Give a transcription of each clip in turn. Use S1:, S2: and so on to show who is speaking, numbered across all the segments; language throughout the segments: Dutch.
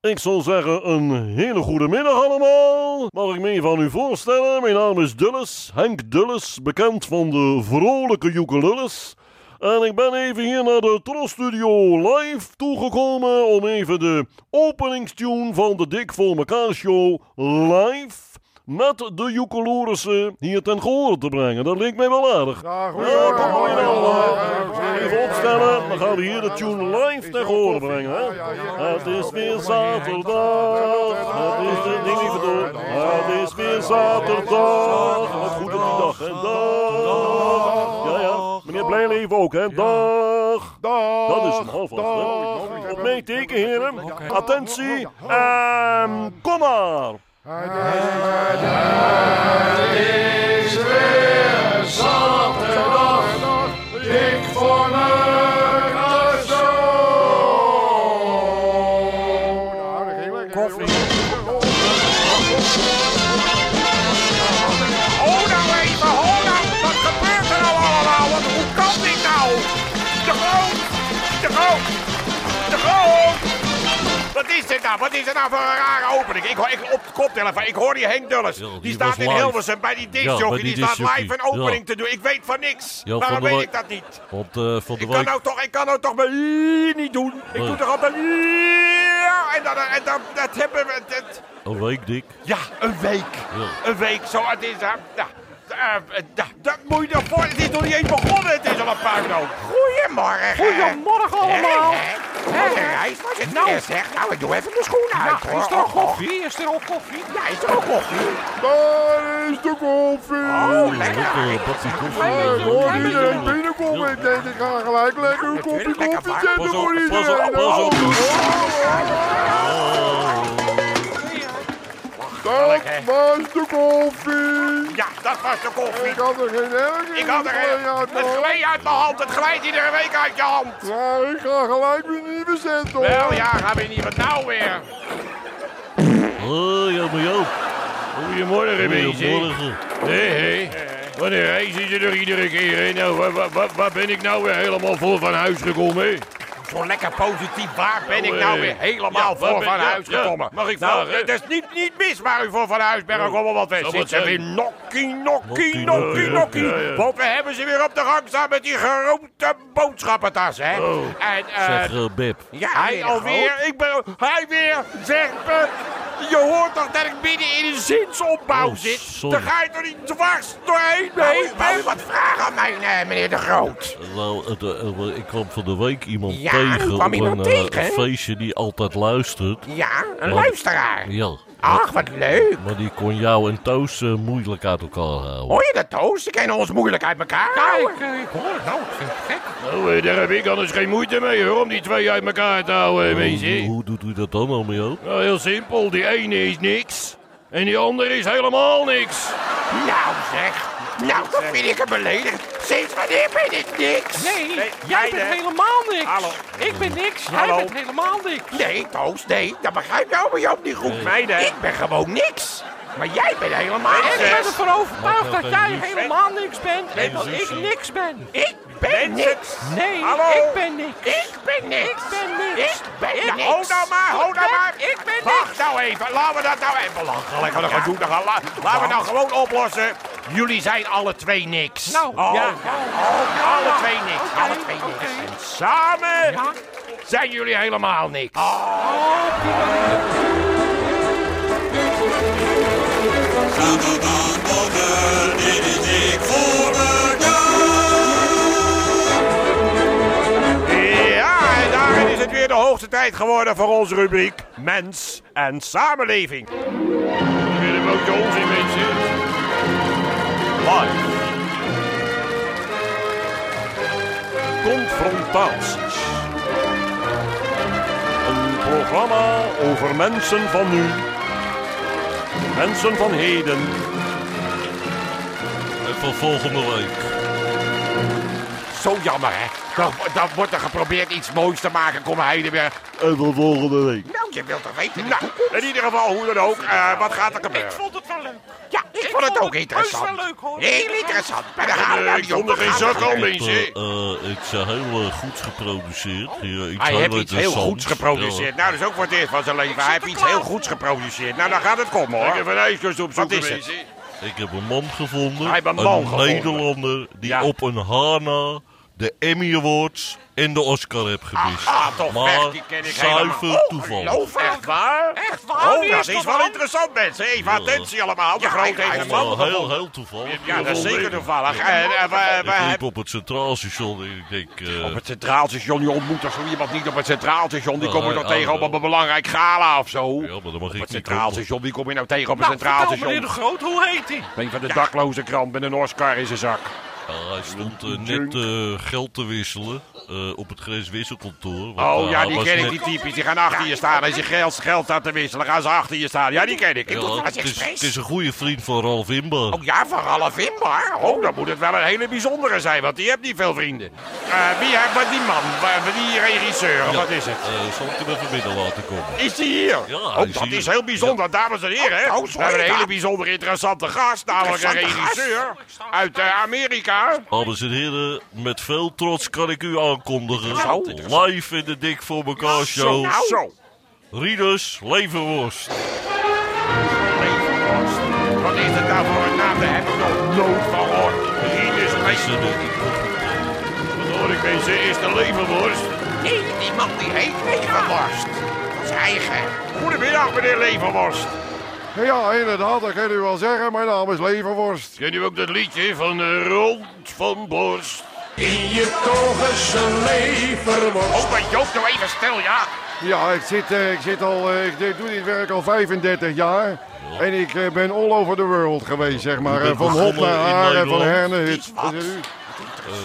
S1: Ik zal zeggen een hele goede middag allemaal. Mag ik me even aan u voorstellen? Mijn naam is Dulles, Henk Dulles, bekend van de vrolijke Joekelulles. En ik ben even hier naar de Tros Studio live toegekomen om even de openingstune van de Dik voor mekaar show live met de Joekelorissen hier ten gehoor te brengen. Dat leek mij wel aardig.
S2: Ja,
S1: Ja, kom maar hier
S2: allemaal.
S1: allemaal. Even opstellen, dan gaan we hier de tune live
S2: naar
S1: tegen horen brengen. Hè? Het is weer zaterdag, het is de ding even door. Het is weer zaterdag, wat goed op die dag, hè? Dag. Ja, ja, meneer Blijleven ook, hè? Dag. Dat is een half af, hè? Op mijn teken, heren. Attentie en kom maar.
S2: Koffie.
S3: Ho nou even, ho nou. Wat gebeurt er nou allemaal? Wat, hoe kan dit nou? De groot, de groot, de groot. Wat is dit nou? Wat is dit nou voor een rare opening? Ik hoor ik, op de koptelefoon, ik hoor die Henk Dulles.
S4: Ja,
S3: die,
S4: die
S3: staat
S4: was
S3: in
S4: live.
S3: Hilversum bij die
S4: Ja,
S3: discjockey.
S4: bij
S3: die
S4: die
S3: staat live
S4: discjockey.
S3: een opening
S4: Ja.
S3: te doen. Ik weet van niks.
S4: Ja,
S3: Waarom
S4: van de
S3: weet
S4: Wijk-
S3: ik dat niet?
S4: Want eh, Van de
S3: Ik kan,
S4: Wijk...
S3: nou toch, ik kan nou toch mijn i niet doen. Ik
S4: Nee.
S3: doe toch altijd i- ja, en dan, en dan dat hebben we... dat-
S1: nou-
S4: Een week dik.
S3: ja, een week.
S4: Ja.
S3: Een week, zo, het is... eh, ja, eh, eh, ja, dat moet je ervoor... Het is nog niet eens begonnen, het is al een puinhoop. Goedemorgen.
S5: Goedemorgen allemaal.
S3: Hé, hé. Wat een reis was het
S5: Nou.
S3: nou. zeg. Nou, ik doe even mijn schoenen uit,
S5: Nou,
S3: hoor.
S5: is er al
S3: Oh, oh.
S5: koffie? Is er al koffie?
S3: Ja, is er ook koffie?
S2: Daar is de koffie.
S3: Oh,
S4: Lekker, een
S3: lekker.
S4: bakje koffie.
S2: Ik hoor iedereen
S4: Ja.
S2: binnenkomen. Ik denk, ik ga gelijk lekker een kopje
S3: Natuurlijk, lekker
S2: koffie
S3: warm.
S2: zetten
S4: Pas op,
S2: voor
S4: pas op,
S2: iedereen.
S4: pas op.
S2: Dat
S3: hè?
S2: was de koffie.
S3: Ja, dat was de koffie.
S2: Ik had er geen erg
S3: Ik had er
S2: geen
S3: eh, het glijdt uit mijn hand. Het glijdt iedere week uit je hand.
S2: Ja, ik ga gelijk weer nieuwe zetten hoor.
S3: Wel ja, gaan we niet. Wat nou weer?
S4: Oh, ja, maar Joop.
S6: Goedemorgen, mensen.
S4: Goedemorgen.
S6: Hé, hé. Wat een reis is er toch iedere keer, hè? Nou, waar, waar, waar, waar ben ik nou weer helemaal vol van huis gekomen, hè?
S3: Zo lekker positief. Waar ben ik
S6: eh,
S3: nou weer helemaal
S6: ja, waar
S3: voor
S6: ben-
S3: van
S6: ja,
S3: huis
S6: ja,
S3: gekomen?
S6: mag ik
S3: nou,
S6: vragen? Nou,
S3: Het is niet, niet mis waar u voor van huis bent gekomen. Want we
S6: Zal wat
S3: zitten
S6: zijn.
S3: weer nokkie, nokkie,
S4: Nokkie,
S3: nokkie,
S4: nokkie,
S3: nokkie.
S6: ja, ja.
S3: Want we hebben ze weer op de gang staan met die geroomde boodschappentas, hè?
S6: Oh.
S3: En eh,
S4: Zeg, eh, Beb.
S3: ja, hij alweer. Ik ben, hij weer. Zeg me. Je hoort toch dat ik midden in een zinsopbouw
S4: Oh,
S3: zit?
S4: sorry.
S3: Dan ga je toch niet dwars doorheen?
S5: Nou,
S3: Nee, wou u wat vragen aan mij, eh, meneer De Groot?
S4: Nou, het, eh, eh, ik kwam van de week iemand
S3: Ja,
S4: tegen
S3: u kwam
S4: op
S3: iemand
S4: een eh,
S3: tegen?
S4: feestje die altijd luistert.
S3: Ja, een luisteraar.
S4: Ja,
S3: Ach, wat leuk.
S4: maar die kon jou en Toos eh, moeilijk uit elkaar houden.
S3: Hoor je dat, Toos? Ze kennen ons moeilijk uit elkaar.
S5: Ja,
S3: houden.
S5: ik, eh, ik hoor het nou. Ik vind het gek.
S6: Nou, eh, daar heb ik anders geen moeite mee, hoor, om die twee uit elkaar te houden,
S3: Oh,
S4: Hoe,
S6: mensen.
S4: hoe doet u dat dan, oom Joop?
S6: Nou, heel simpel. Die ene is niks. En die andere is helemaal niks.
S3: Nou zeg, nou dat vind ik een belediging. Sinds wanneer ben ik niks?
S5: Nee,
S3: jij
S5: jij bent
S3: hè?
S5: helemaal niks.
S3: Hallo.
S5: Ik ben niks. Jij
S3: Hallo.
S5: bent helemaal niks.
S3: Nee, Toos, nee. Dat begrijp nou je allemaal Joop niet goed.
S5: Meiden.
S3: Ik ben gewoon niks. Maar jij bent helemaal
S5: Ik ben
S3: niks.
S5: ervan overtuigd
S4: Mag
S5: dat
S4: dat
S5: jij
S4: niet?
S5: helemaal niks bent en dat ik
S4: Susie.
S5: niks ben.
S3: Ik ben niks.
S5: Nee,
S3: Hallo.
S5: ik ben niks.
S3: Ik ben niks.
S5: Ik ben niks.
S3: Ik ben
S5: Ik-
S3: niks. Ho nou maar, ho
S5: Ik
S3: nou
S5: ben-
S3: maar.
S5: ik ben
S3: Wacht
S5: niks.
S3: nou even, laten we dat nou even belachelijk gaan ja. doen. Dan gaan, la, laten we nou gewoon oplossen. Jullie zijn alle twee niks.
S5: Nou,
S3: oh,
S5: ja.
S3: oh,
S5: Ja,
S3: alle
S5: ja.
S3: twee niks.
S5: Oké,
S3: alle twee niks.
S5: oké.
S3: En samen
S5: Ja.
S3: zijn jullie helemaal niks. Ja, en daarin is het weer de hoogste tijd geworden voor onze rubriek Mens en Samenleving.
S6: Weer een beetje onzin, mensen.
S3: Live. Confrontaties.
S1: Een programma over mensen van nu, mensen van heden
S4: En van volgende week.
S3: Zo jammer, hè? Dan, dan wordt er geprobeerd iets moois te maken. Kom Heidenberg.
S1: en van volgende week.
S3: Nou, je wilt toch weten? Nou, in ieder geval, hoe dan ook. eh, wat gaat er gebeuren?
S5: vond het wel leuk.
S3: Ja, ik, Ik vond het ook interessant.
S5: Heus wel leuk hoor.
S3: Heel interessant. Maar dan gaan we
S6: Eh,
S3: naar
S6: Ik
S3: die
S6: vond er geen zak aan,
S3: ondergrond.
S6: mensen.
S4: Eh, eh, ik zei heel eh, goed geproduceerd. Ja, iets
S3: Hij
S4: heel
S3: heeft iets heel
S4: interessants.
S3: goeds geproduceerd. Nou, dat is ook voor het eerst van zijn leven. Hij heeft iets heel goeds geproduceerd. Nou, dan gaat het komen
S6: Ik
S3: hoor.
S6: heb een ijskast opzoeken,
S3: Wat is het?
S6: mensen.
S4: Ja, ik heb een man gevonden.
S3: Hij heeft een man gevonden.
S4: Nederlander die
S3: Ja.
S4: op een hana de Emmy Awards en de Oscar heeft gewist.
S3: ah, toch
S4: maar
S3: weg, die ken ik
S4: zuiver
S3: helemaal. Oh,
S4: toeval.
S3: geloof
S6: Echt waar?
S5: Echt waar?
S3: Oh,
S5: Die
S3: dat is
S5: toch
S3: wel
S5: aan?
S3: interessant, mensen. Even
S4: Ja.
S3: attentie allemaal. De
S5: Ja,
S3: groot
S5: hij-
S3: heeft
S5: hij
S3: een
S5: is
S3: man
S4: Nou, heel,
S3: gevonden.
S4: heel toevallig.
S3: Ja, dat is zeker
S6: gevonden.
S3: toevallig. Eh, eh, eh, wij- wij-
S4: Ik liep op het Centraal Station en ik denk... eh,
S3: Op het Centraal Station, je ontmoet toch zo iemand niet op het Centraal Station. Die
S4: Oh,
S3: kom je
S4: hij-
S3: toch tegen
S4: oh,
S3: op een
S4: oh.
S3: belangrijk gala of zo.
S4: ja, maar dan mag ik
S3: Op het
S4: niet
S3: Centraal
S4: op.
S3: Station, die kom je nou tegen op het
S5: Nou,
S3: Centraal
S5: vertel meneer de
S3: Station.
S5: Groot, hoe heet hij?
S3: Een van de dakloze krant met een Oscar in zijn zak.
S4: Ja, hij stond eh, net eh, geld te wisselen eh, op het grenswisselkantoor. want,
S3: Oh
S4: eh,
S3: ja,
S4: hij
S3: die
S4: was
S3: ken ik,
S4: net-
S3: die typisch. Die gaan achter je staan. Als je geld, geld staat te wisselen, gaan ze achter je staan. Ja, die ken ik. Ik doe
S4: Ja,
S3: het als
S4: het, is, het is
S3: expres.
S4: een goede vriend van Ralf Imber.
S3: Oh ja, van Ralf Imbar. Oh, dan moet het wel een hele bijzondere zijn, want die hebt niet veel vrienden. Eh, wie heeft wat die man? Wa- Die regisseur, wat is het?
S4: Eh, zal ik hem even binnen laten komen?
S3: Is die hier?
S4: Ja,
S3: oh,
S4: hij is
S3: dat
S4: hier.
S3: is heel bijzonder, dames en heren. hè.
S2: Oh, oh,
S3: We
S2: sorry,
S3: hebben een
S2: ja.
S3: hele bijzonder interessante gast, namelijk een
S2: Interessante gast.
S3: regisseur uit eh, Amerika.
S4: Dames en heren, met veel trots kan ik u aankondigen.
S3: Zo.
S4: Live in de Dik voor elkaar show.
S3: Nou, zo.
S4: Rieders, leverworst.
S3: Leverworst. Wat is het nou voor een naam? Daar heb ik nog nooit van gehoord. Rieders
S4: Is
S3: Leverworst.
S4: er een-
S6: Wat hoor ik, mensen? Is de levenworst?
S3: Nee, die man die heet Leverworst. Dat is eigen. Goedemiddag, meneer Leverworst.
S2: Ja, inderdaad, dat kan u wel zeggen. Mijn naam is Leverworst.
S6: Ken u ook dat liedje van eh, Rond van Borst?
S3: Oh, maar Joop, nou even stil, ja.
S2: Ja, ik zit, eh, ik zit al, eh, ik doe dit werk al 35 jaar. En ik eh, ben all over the world geweest, zeg maar.
S4: bent
S2: Eh, van hop
S4: begonnen
S2: naar
S4: in
S2: haar en van
S4: Nederland.
S2: her naar hit.
S3: Is wat?
S2: Dat is u.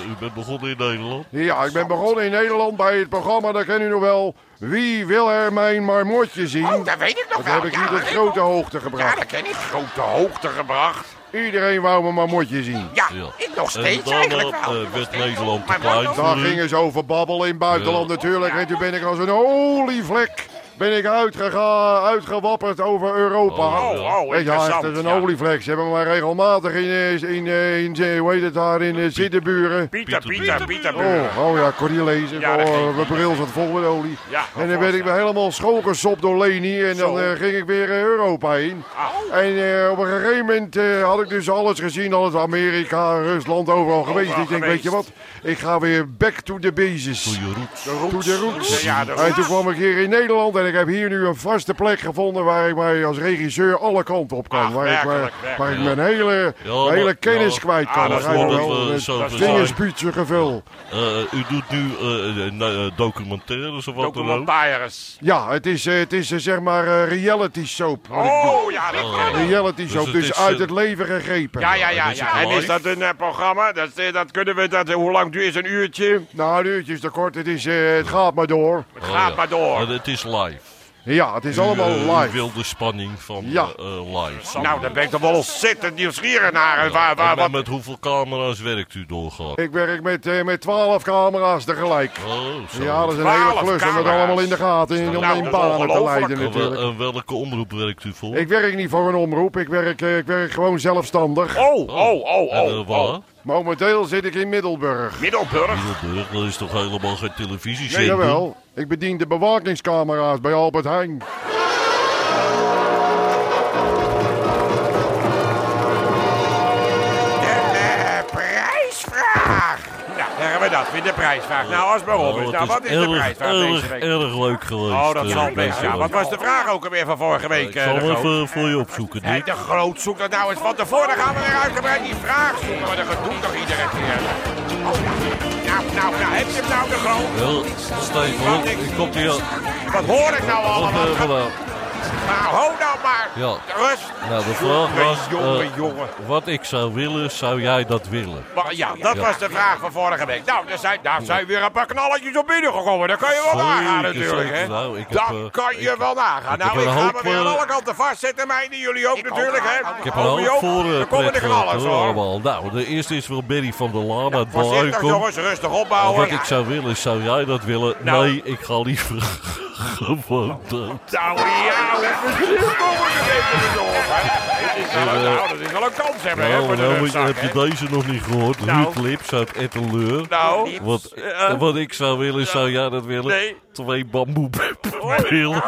S4: Eh, u bent begonnen in Nederland.
S2: Ja, ik ben begonnen in Nederland bij het programma, dat kent u nog wel. Wie wil er mijn marmotje zien?
S3: Oh, dat weet ik nog
S2: dat
S3: wel.
S2: heb ik
S3: ja,
S2: niet op
S3: dat
S2: grote
S3: ook.
S2: hoogte
S3: Ja,
S2: gebracht.
S3: dat ken ik. Grote hoogte gebracht.
S2: Iedereen wou mijn marmotje zien.
S3: Ja,
S4: Ja.
S3: ik nog
S4: En
S3: steeds
S4: dan,
S3: eigenlijk
S4: eh,
S3: wel.
S4: eh,
S3: Ik
S4: werd
S3: nog steeds
S4: Nederland
S3: wel.
S4: te
S3: Maar
S4: klein
S3: wat
S4: voor
S2: Daar
S3: dan?
S4: u.
S2: gingen ze over babbelen in het buitenland
S4: Ja.
S2: natuurlijk. En toen ben ik als een olievlek ben ik uitgegaan, uitgewapperd over Europa.
S4: Oh,
S3: Oh, oh,
S2: Weet je, ja,
S3: interessant.
S2: dat is een
S3: ja.
S2: olievlek. Ze hebben mij regelmatig in, eh, in, eh, in, eh, hoe heet het daar, in eh, Zittenburen.
S3: Pieter, Pieter,
S4: Pieter,
S3: Pieter.
S2: Oh, oh ja, ik kon niet lezen.
S3: Ja, dat
S2: Oh,
S3: ging
S2: mijn bril zat vol met olie.
S3: Ja,
S2: en dan werd ik me helemaal schoongesopt door Leni. En dan
S3: Zo. Ah.
S2: eh, ging ik weer eh, Europa in. En eh, op een gegeven moment eh, had ik dus alles gezien. Alles Amerika, Rusland, overal geweest. ik denk,
S3: geweest.
S2: weet je wat? Ik ga weer back to the basis.
S4: Je roet.
S2: To the roots.
S3: Ja, de
S2: En toen kwam ik hier in Nederland en ik heb hier nu een vaste plek gevonden waar ik mij als regisseur alle kanten op kan.
S3: Ach,
S2: waar, ik,
S3: werkelijk,
S2: waar-
S3: werkelijk.
S2: waar ik mijn hele,
S4: Ja,
S2: mijn
S4: maar-
S2: hele kennis
S4: ja.
S2: kwijt
S3: Ah,
S2: kan.
S3: dat
S2: Begrijp je
S4: wordt
S2: wel?
S4: het, eh,
S2: Met
S4: zo verzaaid.
S2: vingerspitsengevel.
S4: Eh, u doet nu eh, eh, nou, eh, documentaires of wat dan ook.
S3: Documentaires.
S2: Ja, het is, eh, het is eh, zeg maar eh, reality soap. wat ik doe.
S3: Oh, ja, dat kan ik.
S2: Reality
S4: Dus
S2: soap,
S4: het
S2: dus
S4: is,
S2: uit
S4: eh,
S2: het leven gegrepen.
S3: Ja, ja, ja.
S4: dat is
S3: ja. En is
S4: mooi.
S3: dat een eh, programma? Dat, eh, dat kunnen we, dat, hoe lang duurt een
S4: Oh,
S3: uurtje?
S2: Nou, een uurtje is te kort, het, is, eh, het gaat maar door.
S3: Het gaat
S4: ja.
S3: maar door.
S4: Maar het is live.
S2: Ja, het is
S4: U,
S2: allemaal
S4: eh, u
S2: live.
S4: wil de spanning van
S2: Ja.
S4: eh, eh, live.
S3: nou, dan ben ik toch wel ontzettend nieuwsgierig naar. eh, Waar,
S4: En
S3: waar,
S4: met-
S3: wat...
S4: met hoeveel camera's werkt u doorgaan?
S2: Ik werk met, eh, met 12 camera's tegelijk.
S4: Oh, zo.
S2: Ja, dat is een hele
S3: 12
S2: klus om het
S3: camera's.
S2: allemaal in de gaten en
S3: Nou,
S2: om
S3: dat
S2: in
S3: is
S2: banen te
S3: ongelooflijk.
S2: leiden
S4: En wel-
S2: natuurlijk.
S4: en welke omroep werkt u
S1: eh,
S4: voor?
S2: Ik werk niet voor een omroep, ik werk, eh, ik werk gewoon zelfstandig.
S3: Oh, oh, oh,
S4: En,
S3: oh.
S4: eh,
S3: oh.
S4: waar?
S2: Momenteel zit ik in Middelburg.
S3: Middelburg.
S4: Middelburg, dat is toch helemaal geen televisie
S2: Nee, jawel, ik bedien de bewakingscamera's bij Albert Heijn.
S3: De eh, prijsvraag. Nou, zeggen we dat weer, de prijsvraag. Nou, als maar op is. Nou, wat is de
S4: Oh, erg,
S3: prijsvraag deze
S4: erg,
S3: week?
S4: erg leuk geweest.
S3: Oh, dat
S4: eh,
S3: zal best.
S4: mensen.
S3: Ja, wat was de vraag ook alweer van vorige week?
S4: Ik
S3: eh,
S4: zal
S3: de
S4: hem
S3: Groot?
S4: even voor je opzoeken,
S3: Hé,
S4: Dick.
S3: de groot zoekt dat nou eens van tevoren. Dan gaan we weer uitgebreid die vraag zoeken. Maar dat doet toch iedere keer? Oh, nou, nou, nou, heb je hem nou de groot?
S4: Wel, Stefan, ik kom hier.
S3: Wat hoor ik nou
S4: Wat
S3: allemaal?
S4: eh, vandaag?
S3: Nou, hou nou maar.
S4: Ja.
S3: Rust.
S4: Nou, de vraag was... eh,
S3: Jongen, jongen.
S4: Wat ik zou willen, zou jij dat willen?
S3: Maar ja, dat was de vraag van vorige week. Nou, daar zijn, daar zijn weer een paar knalletjes op binnengekomen. Dat kan je wel
S4: Zeker,
S3: nagaan natuurlijk, hè?
S4: zeker. Nou, ik heb,
S3: dat
S4: eh,
S3: kan je
S4: ik-
S3: wel nagaan.
S4: ik
S3: Nou,
S4: heb
S3: ik
S4: een
S3: ga
S4: hoop,
S3: me weer aan
S4: eh,
S3: alle kanten vastzetten. Mijnen jullie ook natuurlijk, hè?
S5: ook.
S4: Ik heb een hoop voor eh,
S3: Er komen de
S4: pret gehad,
S3: knallers,
S4: hoor,
S3: hoor.
S4: allemaal. Nou, de eerste is wel Berry van der Laan uit
S3: Voorzichtig,
S4: Baikum.
S3: jongens. Rustig
S4: Of
S3: opbouwen.
S4: Wat ik zou willen, zou jij dat willen?
S3: Nou.
S4: Nee, ik ga liever gewoon dood.
S3: Nou ja, hoe verzin je wordt het even in de oren. Het is wel een- Nou, dat is wel een kans hebben, hè,
S4: Nou,
S3: voor de
S4: nou, moet je-
S3: rugzak,
S4: heb je
S3: hè.
S4: deze nog niet gehoord?
S3: Nou.
S4: Ruud Lips uit Etteleur.
S3: Nou,
S4: Wat,
S3: eh,
S4: wat ik zou willen, zou jij dat willen?
S3: Nee.
S4: Twee bamboepillen.
S3: bamboepillen.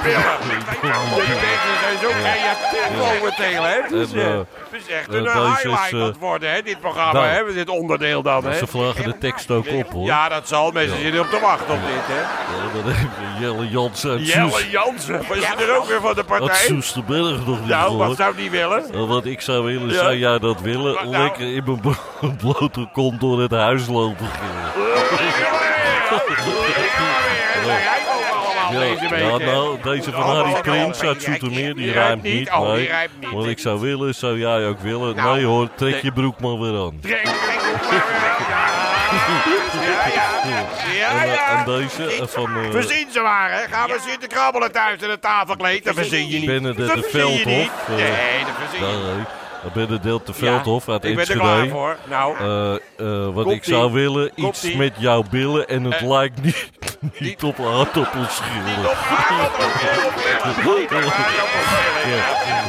S3: De mensen zijn zo creatief over tegen, hè. Het is,
S4: En, eh,
S3: eh, het is echt een
S4: eh, deze is,
S3: highlight aan het
S4: eh,
S3: worden, hè, dit programma,
S4: nou.
S3: hè. Dit onderdeel dan, hè.
S4: Ze vragen de tekst ook op, hoor.
S3: Ja, dat zal. Mensen zitten op te wachten op dit, hè.
S4: Ja, dan hebben we Jelle Jans uit Soest-
S3: Jelle Jansen, was je er ook weer van de
S4: uit
S3: partij?
S4: Soesterberg nog niet
S3: Nou, wat
S4: gehoord.
S3: zou die willen?
S4: Eh, Wat ik zou willen,
S3: Ja.
S4: zou jij dat willen?
S3: Wat nou?
S4: Lekker in mijn blo- blote kont door het huis lopen. gillen. Ja, ja, nou, deze van Harry Prins uit Zoetermeer, die ruimt niet.
S3: Oh, die
S4: nee.
S3: ruimt niet.
S4: Wat ik zou willen, zou jij ook willen.
S3: Nou,
S4: nee hoor, trek
S3: nee.
S4: je broek maar weer aan. En, eh, en deze eh, van eh,
S3: Verzin ze maar, hè. Gaan we zitten krabbelen thuis in het tafelkleed. Dat verzin je niet.
S4: Benedette
S3: dat verzin je niet.
S4: Veldhof, eh,
S3: Nee, dat verzin je niet.
S4: daar, eh, Benedelt de
S3: Ja,
S4: Veldhof uit
S3: Ik ben er
S4: Enschede.
S3: klaar voor. Nou,
S4: Eh, eh, wat
S3: Komt-ie.
S4: ik zou willen, iets
S3: Komt-ie.
S4: met jouw billen en het
S3: Eh,
S4: lijkt niet, niet op aardappelschillen.
S3: op
S4: Ja,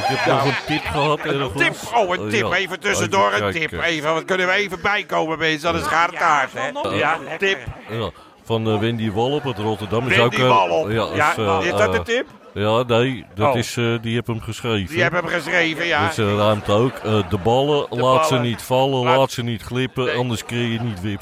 S4: ik heb nog een tip gehad
S3: Een
S4: ergens. Eh,
S3: tip, oh een tip,
S4: ja.
S3: even tussendoor een
S4: Even
S3: tip.
S4: kijken.
S3: Even, wat kunnen we even bijkomen mensen, dat is gaartaart hè. Ja, tip.
S4: Ja, van eh, Wendy Wallop uit Rotterdam. is ook,
S3: Wendy
S4: eh,
S3: Wallop.
S4: Ja,
S3: Ja,
S4: is, eh,
S3: is dat
S4: eh,
S3: de tip?
S4: Ja, nee, dat
S3: Oh.
S4: is, eh, die heb hem geschreven.
S3: Die hebben hem geschreven, ja.
S4: Dus eh, ruimt ook. Eh, de ballen, laat ze
S3: ballen.
S4: niet vallen,
S3: Laat-
S4: laat, ze niet glippen, anders kreeg je niet wip.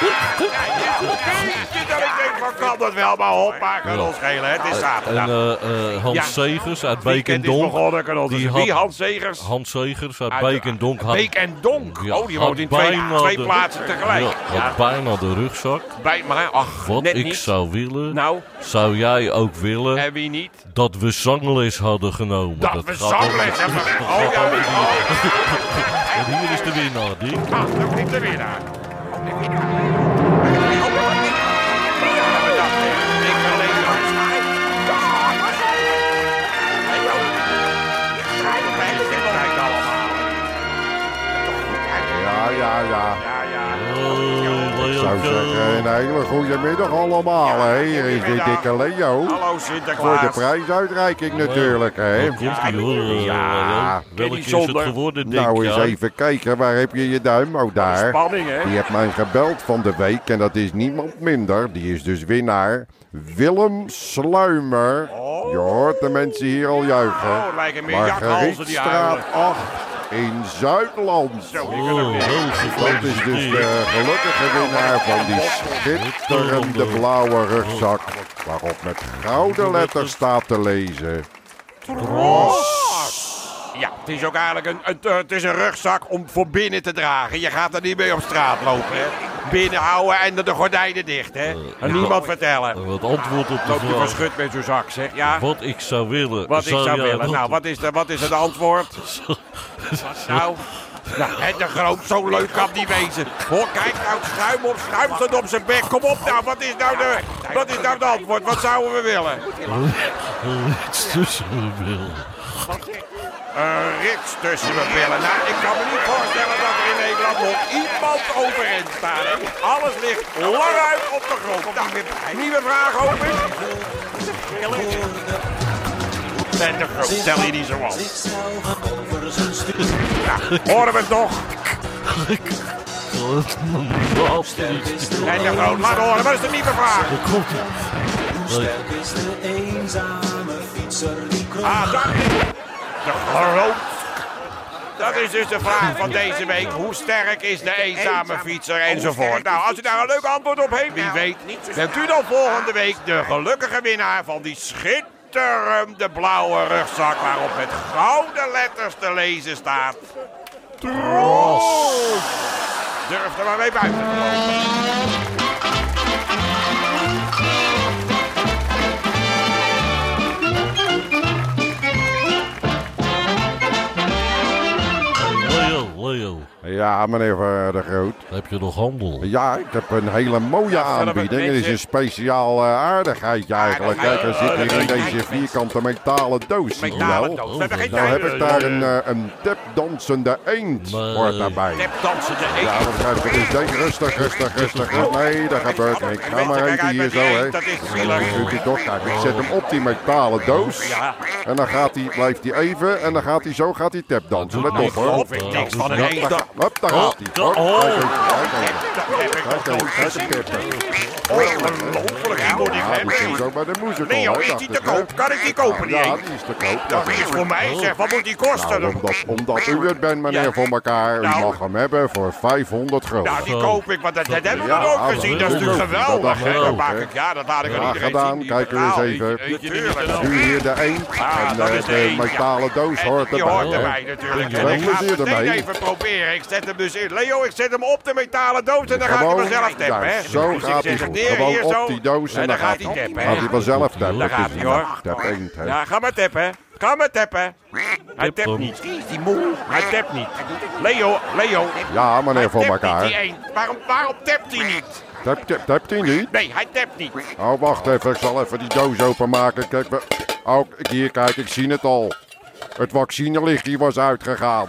S3: Jeetje, dat ik denk, van kan dat wel, maar hoppa, kan ons schelen, hè. het is
S4: En
S3: zaterdag.
S4: eh, eh, Hans
S3: Ja.
S4: Segers uit Beek en
S3: Weekend is
S4: Donk.
S3: begonnen, kan ons
S4: die
S3: schelen. Wie,
S4: had-
S3: Hans Zegers?
S4: Hans Segers uit
S3: Uit-
S4: Beek en Donk had,
S3: Beek en Donk,
S4: ja,
S3: oh die
S4: had
S3: woont in twee,
S4: bijna
S3: twee
S4: de-
S3: plaatsen tegelijk.
S4: ja, had
S3: Ja,
S4: bijna de rugzak.
S3: bij maar, ach,
S4: Wat
S3: net
S4: ik
S3: niet.
S4: zou willen,
S3: Nou,
S4: zou jij ook willen
S3: en wie niet?
S4: dat we zangles hadden genomen.
S3: Dat, we
S4: gaat
S3: zangles
S4: ook-
S3: hebben.
S4: dat
S3: Oh,
S4: gaat
S3: ja,
S4: ook niet.
S3: oh.
S4: En hier is de winnaar, Dick.
S3: Ah, daar komt de winnaar.
S2: Ja, ja, ja.
S4: Oh,
S2: Ik zou
S4: Leontje.
S2: zeggen, een hele goede middag allemaal, hè. Hier is die dikke Leo.
S3: Hallo
S2: Voor de
S3: Sinterklaas.
S2: prijsuitreiking natuurlijk, hè.
S4: Wat komt die hoor? eh,
S2: Ja,
S4: Leon? Welke is het
S3: zonder.
S4: geworden, Dick?
S2: Nou, eens
S4: Ja,
S2: even kijken, waar heb je je duim? Oh, daar.
S3: Spanning, hè?
S2: Die heeft mij gebeld van de week en dat is niemand minder. Die is dus winnaar. Willem Sluimer. Je hoort de mensen hier al juichen.
S3: Oh, lijken meer jakhalzen die huilen.
S2: Margrietstraat 8 in Zuidland.
S4: Oh, heel
S2: Dat is dus de gelukkige winnaar van die schitterende blauwe rugzak. Waarop met gouden letters staat te lezen.
S3: Ja, het is ook eigenlijk een, een, eh, het is een rugzak om voor binnen te dragen. Je gaat er niet mee op straat lopen, hè. Binnen houden en de gordijnen dicht, hè. En
S4: ja.
S3: niemand vertellen.
S4: Wat antwoord op de
S3: Loop je van
S4: vraag.
S3: schut met zo'n zak, zeg. Ja,
S4: Wat ik zou willen.
S3: wat ik zou
S4: jij
S3: willen.
S4: dat-
S3: Nou, wat is, de, wat is het antwoord? Nou, nou hè, de groot, zo leuk kan die wezen. Hoor, kijk nou, schuim op, schuim staat op zijn bek. Kom op nou, wat is nou de, wat is nou de antwoord? Wat zouden we willen?
S4: Iets tussen de billen.
S3: Een rits tussen mijn billen. Nou, ik kan me niet voorstellen dat er in Nederland nog iemand overeind staat. Alles ligt lang uit op de grond. Nou, nieuwe vraag over. Ben de groot, stel je niet zo op. Ja, horen we het nog?
S4: Wat een iets tussen-
S3: Ben de groot, laat horen. Wat is de nieuwe vraag?
S4: Daar komt hij.
S7: is de eenzame fietser die kroop.
S3: Ah, dat is de groot. Dat is dus de vraag van deze week. Hoe sterk is de eenzame fietser enzovoort? Nou, als u daar een leuk antwoord op heeft, nou, wie weet, bent u dan volgende week de gelukkige winnaar van die schitterende blauwe rugzak waarop met gouden letters te lezen staat. Trots! Durf er maar mee buiten te lopen.
S4: Leo, Leo.
S2: Ja, Ja, meneer Van de Groot.
S4: Heb je nog handel?
S2: Ja, ik heb een hele mooie aanbieding. Het is een speciaal eh, aardigheidje eigenlijk. Kijk, er zit hier in deze vierkante metalen doos. zie je
S3: Metalen
S2: wel.
S3: doos. We hebben geen
S2: Nou
S3: tijd.
S2: heb ik daar een, eh, een tapdansende eend
S4: Nee.
S2: hoort daarbij.
S3: Tapdansen, de
S2: Ja,
S3: eend.
S2: dat begrijp ik. Het is denk- rustig, rustig, rustig. Nee, dat gebeurt niks. Ga maar even hier zo, hè.
S3: Dat is
S2: Dat doet
S3: zielig.
S2: hij toch. Kijk, ik zet hem op die metalen doos.
S3: Ja.
S2: En dan gaat hij, blijft hij even. En dan gaat hij zo, gaat hij tapdansen. Let op, hoor.
S3: Op, ik niks van een
S2: Daar
S3: eend.
S2: ga- Hop, daar gaat hij. Hop,
S4: Oh.
S2: kijk eens, kijk eens.
S3: Dat heb ik nog
S2: Kijk
S3: nooit
S2: eens, kijk
S3: gezien.
S2: eens, kippen.
S3: Oh, Ongelooflijk, ik moet Oh, die
S2: Ja, die
S3: hebben.
S2: is ook bij de moezel
S3: Leo, is die te koop? Kan ik die kopen, die
S2: Ja,
S3: eend?
S2: die is te koop.
S3: Dat is voor mij, zeg. Wat moet die kosten?
S2: Nou, omdat, omdat u het bent, meneer,
S3: Ja.
S2: voor elkaar. U
S3: Nou.
S2: mag hem hebben voor 500 gulden.
S3: Nou, die koop ik, want dat, dat hebben we
S2: Ja, ah,
S3: nog
S2: maar
S3: gezien.
S2: dat
S3: Dat is
S2: is
S3: natuurlijk
S2: ook- dat
S3: geweldig.
S2: dacht ik
S3: hè? Dat
S2: ook,
S3: maak
S2: hè.
S3: ik, ja, dat laat ik aan
S2: Graag
S3: iedereen
S2: gedaan,
S3: zien.
S2: kijk er eens
S3: Nou,
S2: even.
S3: Natuurlijk.
S2: Nu hier de eend.
S3: Ah,
S2: en
S3: dat
S2: eh,
S3: is de
S2: de
S3: eend, ja.
S2: metalen doos hoort
S3: Die
S2: erbij.
S3: hoort
S2: hè.
S3: erbij natuurlijk.
S2: Ja,
S3: En
S2: wel
S3: ik ga
S2: plezier
S3: het meteen
S2: ermee.
S3: even proberen. Ik zet hem dus in. Leo, ik zet hem op de metalen doos en dan gaat hij
S2: Gewoon,
S3: vanzelf
S2: ja,
S3: tappen. hè?
S2: zo
S3: Dus ik
S2: gaat
S3: zet
S2: hij
S3: hem
S2: goed.
S3: neer,
S2: Gewoon
S3: hier
S2: op
S3: zo.
S2: die doos en
S3: En dan
S2: dan
S3: gaat
S2: gaat-
S3: hij tappen.
S2: Gaat
S3: hè?
S2: hij vanzelf tappen.
S3: Daar
S2: Het
S3: gaat
S2: is
S3: hij
S2: een
S3: hoor.
S2: tap eend, hè.
S3: Ja, ga maar tappen. Ga maar tappen. Hij tapt
S4: hem.
S3: niet. Is die moe? Hij tapt niet. Leo, Leo.
S2: Ja, meneer,
S3: hij
S2: voor
S3: tapt niet, die
S2: elkaar.
S3: eend. Waarom, waarom tapt hij niet?
S2: Tap- tap- Tapt hij niet?
S3: Nee, hij tapt niet.
S2: Oh, wacht even. Ik zal even die doos openmaken. Kijk, we... oh, k- hier, kijk, ik zie het al. Het vaccinelicht hier was uitgegaan.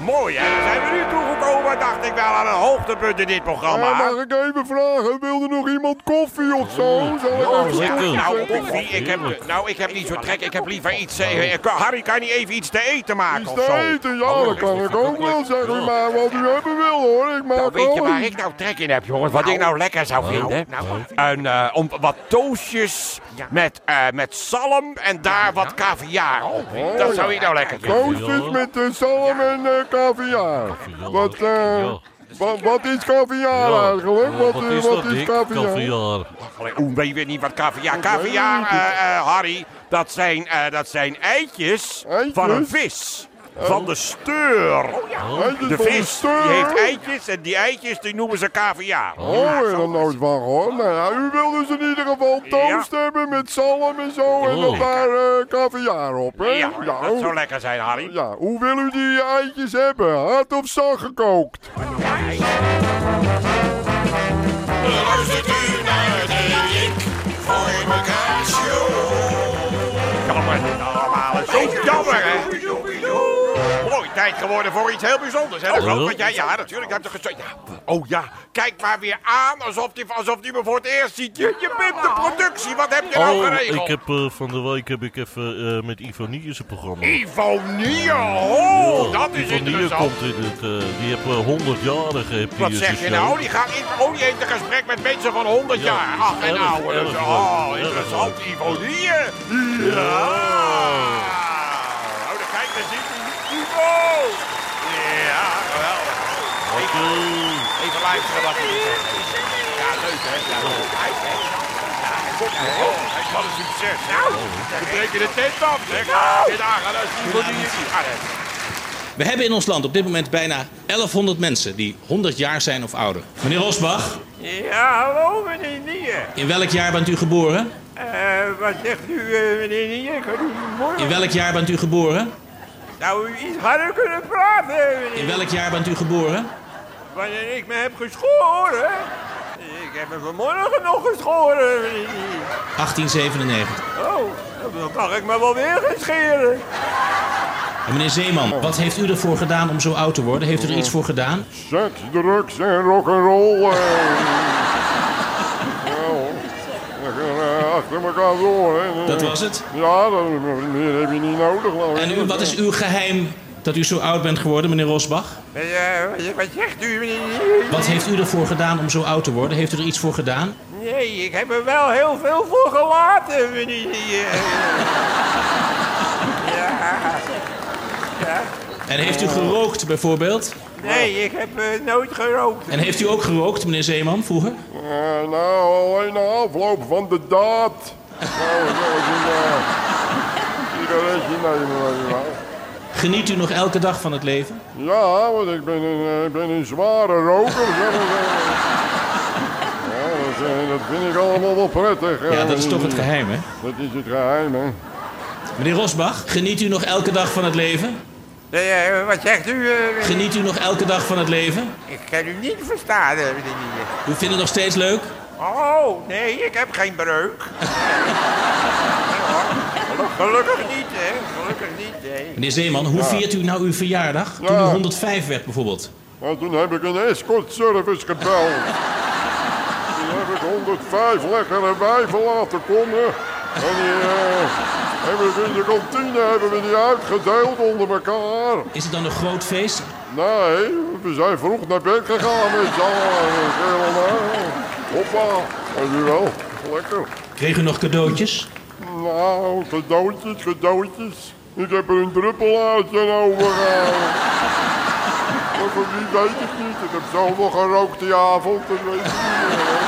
S3: Mooi hè, zijn we nu toegekomen, dacht ik wel, aan een hoogtepunt in dit
S2: Ja,
S3: programma.
S2: mag ik even vragen? Wilde nog iemand koffie of zo? Zal ik even
S4: lekker.
S2: koffie
S3: Nou,
S2: zetten?
S3: koffie, ik heb, nou, ik heb niet zo trek, ik heb liever iets... eh, eh, Harry, kan je even iets te eten maken
S2: Iets
S3: of zo? Oh,
S2: te eten? Ja, dat kan ik ook wel, zeg u maar. Wat u hebben wil, hoor. Ik
S3: Nou,
S2: maak
S3: weet je
S2: wel
S3: waar
S2: iets.
S3: ik nou trek in heb, jongens? Wat ik nou lekker zou vinden? Een, eh, om, wat toastjes met, eh, met zalm en daar wat kaviaar op. Dat zou ik nou lekker vinden.
S2: Toastjes met eh, zalm en eh kaviaar. Wat, eh,
S4: Ja.
S2: wa- wat is kaviaar
S4: Ja.
S2: eigenlijk?
S4: Eh,
S2: Wat, eh, wat
S4: dat,
S2: is
S4: Dick?
S2: kaviaar?
S4: Kaviaar.
S3: Oeh, weet je niet wat kaviaar... Kaviaar, eh, eh, Harry, dat zijn, eh, dat zijn eitjes van een
S2: Eitjes?
S3: vis. Van de steur.
S2: Eitjes
S3: De
S2: van
S3: vis die
S2: steur.
S3: heeft eitjes en die eitjes die noemen ze kaviaar.
S2: Oh, ik heb er nooit van gehoord. Nou ja, u wil dus in ieder geval toast hebben met zalm en zo en
S4: Oh.
S2: dan daar eh, kaviaar op, hè?
S3: Ja, dat zou
S2: hoe,
S3: lekker zijn, Harry.
S2: ja, hoe wil u die eitjes hebben? Hard of zacht gekookt?
S8: Luistert u naar de Rik voor mekaar show.
S3: Jammer, dit allemaal. Zo jammer, hè? Mooi, tijd geworden voor iets heel bijzonders, hè? Dat geloof ik. Ja, ja, natuurlijk. Ik heb het gezegd. Ja. Oh ja, kijk maar weer aan alsof die, alsof die me voor het eerst ziet. Je, je bent de productie, wat heb je nou
S4: Oh,
S3: geregeld?
S4: ik heb eh, van de week heb ik even eh, met Ivanie zijn programma.
S3: Ivonie, oh, dat is
S4: Ivanie
S3: interessant.
S4: komt in het, eh, die heeft eh, 100-jarige. heeft die
S3: Wat
S4: in
S3: zeg je
S4: zijn
S3: nou?
S4: show.
S3: Die gaat in, oh, die heeft een gesprek met mensen van 100
S4: Ja,
S3: jaar. Ach, en
S4: erg,
S3: ouder.
S4: erg
S3: oh,
S4: leuk, erg
S3: interessant. Ivonie. Ja. Oh, dan kijk, daar zit hij. Ivo. Ja, geweldig. Even, even luisteren wat hij zegt. Ja, leuk hè. Ja, leuk. Hij zegt, ja, hij komt weer. Oh, hij- Wat een succes. Nou, we breken de tent af, zeg. En daar gaat als Ivonie. Ah, nee.
S9: We hebben in ons land op dit moment bijna 1100 mensen die 100 jaar zijn of ouder. Meneer Losbach,
S10: Ja, hallo meneer Nier.
S9: in welk jaar bent u geboren?
S10: Eh, wat zegt u eh, meneer Nier? Kan u me
S9: In
S10: morgen
S9: welk jaar bent u geboren?
S10: nou u iets harder kunnen praten
S9: In
S10: meneer?
S9: welk jaar bent u geboren?
S10: Wanneer ik me heb geschoren. Ik heb me vanmorgen nog geschoren meneer Nier.
S9: 1897.
S10: Oh, dan kan ik me wel weer gaan scheren.
S9: En meneer Zeeman, wat heeft u ervoor gedaan om zo oud te worden? Heeft u er iets voor gedaan?
S2: Seks, drugs en rock'n'roll. eh. Nou, we gaan eh, achter elkaar door. Hè.
S9: Dat was het.
S2: Ja, dat, meer heb je niet nodig. Nou, geloof ik.
S9: En u, wat is uw geheim dat u zo oud bent geworden, meneer Rosbach?
S10: Eh, wat- wat zegt u meneer Nier?
S9: Wat heeft u ervoor gedaan om zo oud te worden? Heeft u er iets voor gedaan?
S10: Nee, ik heb er wel heel veel voor gelaten meneer Nier. ja.
S9: En heeft u gerookt bijvoorbeeld?
S10: Nee, ik heb eh, nooit gerookt.
S9: En heeft u ook gerookt, meneer Zeeman, vroeger?
S2: Eh, nou, alleen na afloop van de daad. nou, dat was een eh, sigaretje nemen. weet je wel.
S9: Geniet u nog elke dag van het leven?
S2: Ja, want ik ben een, eh, ik ben een zware roker. zeg maar. ja, dat, eh, dat vind ik allemaal wel prettig.
S9: Ja, dat is toch het geheim, hè?
S2: Dat is het geheim, hè?
S9: Meneer Rosbach, geniet u nog elke dag van het leven?
S10: Eh, eh, wat zegt u? eh?
S9: Geniet u nog elke dag van het leven?
S10: Ik kan u niet verstaan, eh, meneer Nieuwen.
S9: U vindt het nog steeds leuk?
S10: Oh, nee, ik heb geen breuk. Nee, hoor. Gelukkig niet, hè. Gelukkig niet, hè.
S9: Meneer Zeeman, hoe viert u nou uw verjaardag? Toen u 105 werd bijvoorbeeld.
S2: Maar toen heb ik een escort service gebeld. toen heb ik 105 lekkere wijven laten komen. En die eh, hebben we in de kantine hebben we die uitgedeeld onder elkaar.
S9: Is het dan een groot feest?
S2: Nee, we zijn vroeg naar bed gegaan met z'n allen. Helemaal. Hoppa, en nu wel. Lekker.
S9: Kreeg u nog cadeautjes?
S2: Nou, cadeautjes, cadeautjes. Ik heb er een druppel uit en overgehaald. Maar voor wie weet het niet. Ik heb zoveel gerookt die avond, dat weet ik niet meer.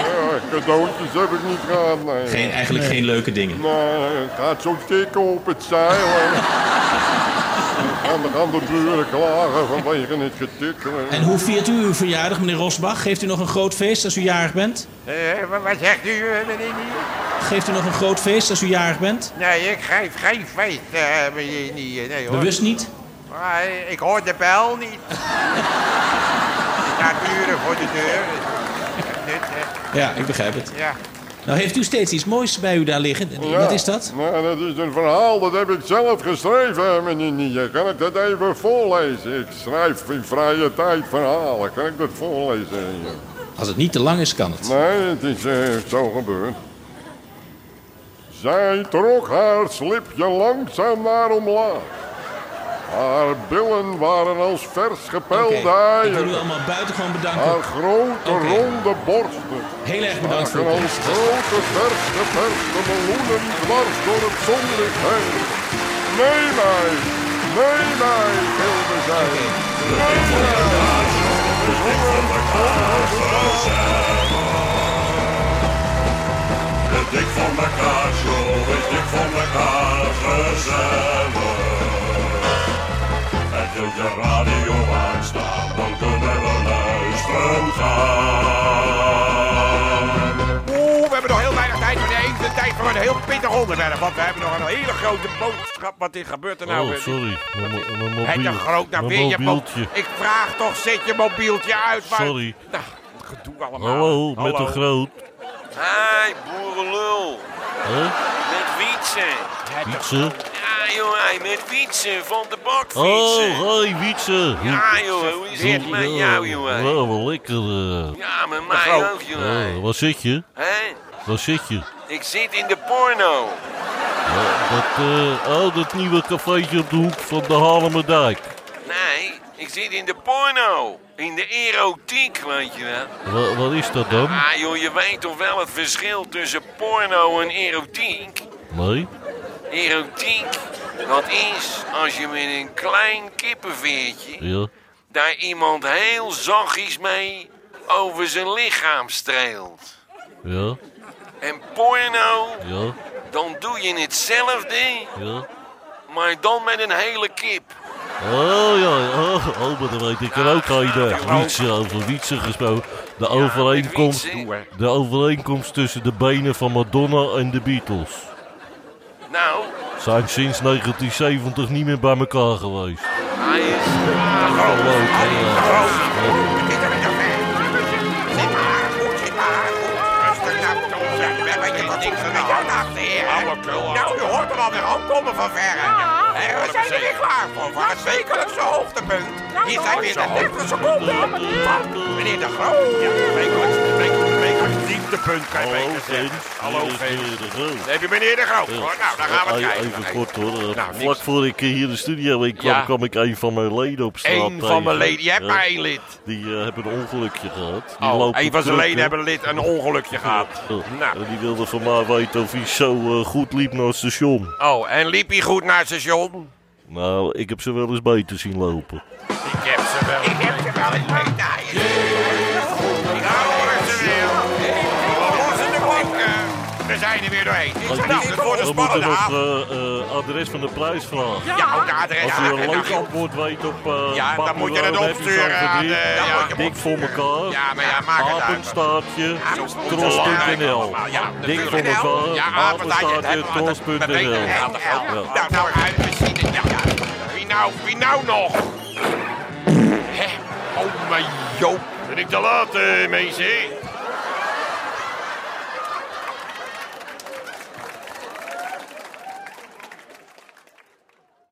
S2: Ja, cadeautjes heb ik niet gehad, nee.
S9: Geen, eigenlijk geen leuke dingen.
S2: Nee, het gaat zo tikken op het zeil. hè. En dan gaan de buren klagen vanwege het getik. hè.
S9: En hoe viert u uw verjaardag, meneer Rosbach? Geeft u nog een groot feest als u jarig bent?
S10: Eh, wa- wat zegt u, eh, meneer Nieuwen?
S9: Geeft u nog een groot feest als u jarig bent?
S10: Nee, ik geef geen feest, eh, meneer Nieuwen. Nee, hoor.
S9: Bewust niet?
S10: Maar, eh, ik hoor de bel niet. Er staan buren voor de deur. Dat is nut, hè.
S9: Ja, ik begrijp het.
S10: Ja.
S9: Nou, heeft u steeds iets moois bij u daar liggen?
S2: Ja.
S9: Wat is dat?
S2: Nou, dat is een verhaal, dat heb ik zelf geschreven, meneer Nier. Kan ik dat even voorlezen? Ik schrijf in vrije tijd verhalen. Kan ik dat voorlezen?
S9: Als het niet te lang is, kan het.
S2: Nee, het is eh, zo gebeurd. Zij trok haar slipje langzaam naar omlaag. Haar billen waren als vers gepelde
S9: Ik wil u
S2: eieren.
S9: allemaal buitengewoon
S2: Haar
S9: bedanken.
S2: grote
S9: Oké.
S2: ronde borsten.
S9: Heel erg
S2: Als
S9: bedankt voor uw komst.
S2: grote vers geperste meloenen dwars door het zonlicht heen. Nee, mij, nee, mij, wilde zij. Nee, mij.
S8: Het dik van elkaar, show is dik van elkaar gezellig. En wil je radio aanstaan, dan kunnen we luisteren gaan.
S3: Oeh, we hebben nog heel weinig tijd. Maar nee, de tijd voor een heel pittig onderwerp. Want we hebben nog een hele grote boodschap. Wat is gebeurd er nou?
S4: Oh,
S3: weer?
S4: sorry. Mijn mo- mijn mobiel.
S3: Het een groot nou
S4: Mijn
S3: weer je mo-
S4: mobieltje.
S3: Ik vraag toch, zet je mobieltje uit. Maar...
S4: Sorry.
S3: Nou, gedoe allemaal.
S4: Hallo, met de groot.
S11: Hé, boerenlul.
S4: Hè?
S11: Met wietsen.
S4: Wietse?
S11: Ja, joh, hé, met wietsen van de bak fietsen.
S4: Oh, hoi Wietse.
S11: Ja, joh, hoe is het met jou, joh? hé?
S4: Nou, wel lekker. eh.
S11: Ja, met mij ook, joh.
S4: Ja,
S11: hé.
S4: waar zit je?
S11: Hé?
S4: Waar zit je?
S11: Ik zit in de porno.
S4: Ja, dat, eh, oh, dat nieuwe cafeetje op de hoek van de Halemerdijk.
S11: Nee, ik zit in de porno. In de erotiek, weet je wel.
S4: Wa- wat is dat dan?
S11: Ah, joh, je weet toch wel het verschil tussen porno en erotiek?
S4: Nee?
S11: Erotiek, dat is als je met een klein kippenveertje...
S4: Ja.
S11: daar iemand heel zachtjes mee over zijn lichaam streelt.
S4: Ja.
S11: En porno,
S4: Ja.
S11: dan doe je hetzelfde,
S4: Ja.
S11: maar dan met een hele kip.
S3: Nou,
S4: Oh ja, oh, oh maar dan weet ik er ook een. eh, Wietse, over Wietse gesproken. De overeenkomst,
S11: met Wietse.
S4: de overeenkomst tussen de benen van Madonna en de Beatles.
S11: Nou,
S4: Zijn sinds 1970 niet meer bij elkaar geweest.
S11: hij is...
S4: Hallo, eh,
S3: Zit er nog in? Zit maar goed, zit maar goed. Rustig nou, Tom, zeg. We hebben hier wat niks aan jou dacht, heer. Nou, je hoort er alweer aankomen van verre. Hé, we zijn er weer klaar voor, voor het wekelijkse hoogtepunt. Hier zijn weer de 30 seconden van meneer De Groot. nou. Ja, wekelijks, wekelijks, wekelijks dieptepunt, kan je
S4: Hallo,
S3: beter
S4: Vins.
S3: zeggen. Hallo,
S4: Hier is
S3: Vins.
S4: weer de groot.
S3: Dan heb je meneer De Groot. hoor. Nou, dan gaan we het
S4: Eh,
S3: kijken.
S4: Even kort hoor. Eh,
S3: Nou,
S4: Vlak
S3: niks.
S4: voor ik eh, hier de studio in kwam,
S3: Ja.
S4: kwam ik een van mijn leden op straat
S3: Eén van mijn
S4: tegen.
S3: leden, je hebt
S4: Ja.
S3: maar één lid.
S4: Die eh, hebben een ongelukje gehad. Die
S3: Oh,
S4: lopen
S3: één van zijn
S4: terug,
S3: leden
S4: hè.
S3: hebben lid een ongelukje gehad.
S4: Eh,
S3: Nou.
S4: eh, Die wilde van mij weten of hij zo eh, goed liep naar het station.
S3: Oh, en liep hij goed naar het station?
S4: Nou, ik heb ze wel eens beter zien lopen.
S3: Ik heb ze wel. Ik heb ze wel in mijn naaien. Daar horen ze weer. We lossen de banken. We zijn trein er weer doorheen.
S1: Oh,
S3: Nou,
S1: die-
S3: dat wordt een
S1: we moeten
S3: spannende
S1: nog
S3: avond.
S1: het
S4: eh,
S1: adres van de prijs vragen.
S3: Ja, ook de adres.
S1: Als u
S3: Ja,
S1: een
S3: nou,
S1: leuk
S3: joh.
S1: antwoord weet op... eh,
S3: Ja, dan
S1: Papi
S3: moet je dat
S1: Rood, Happy
S3: opsturen aan
S1: Zandvoort,
S3: de- ja, moet je hem
S1: Dik voor elkaar.
S3: Ja, maar ja, maak
S1: Ah,
S3: het uit.
S1: Apenstaartje,
S3: zo belangrijk
S1: tros.nl.
S3: allemaal. Ja,
S1: Dik voor
S3: natuurlijk.
S1: elkaar,
S3: Ja, apenstaartje,
S1: apenstaartje,
S3: dat- dat weet ik
S1: tros.nl.
S3: wel.
S1: Ja.
S3: Nou, nou, uit misschien. Ja, ja. Wie nou, wie nou nog? Hè? Oh, mijn joop.
S12: Ben ik te laat, eh, mensen?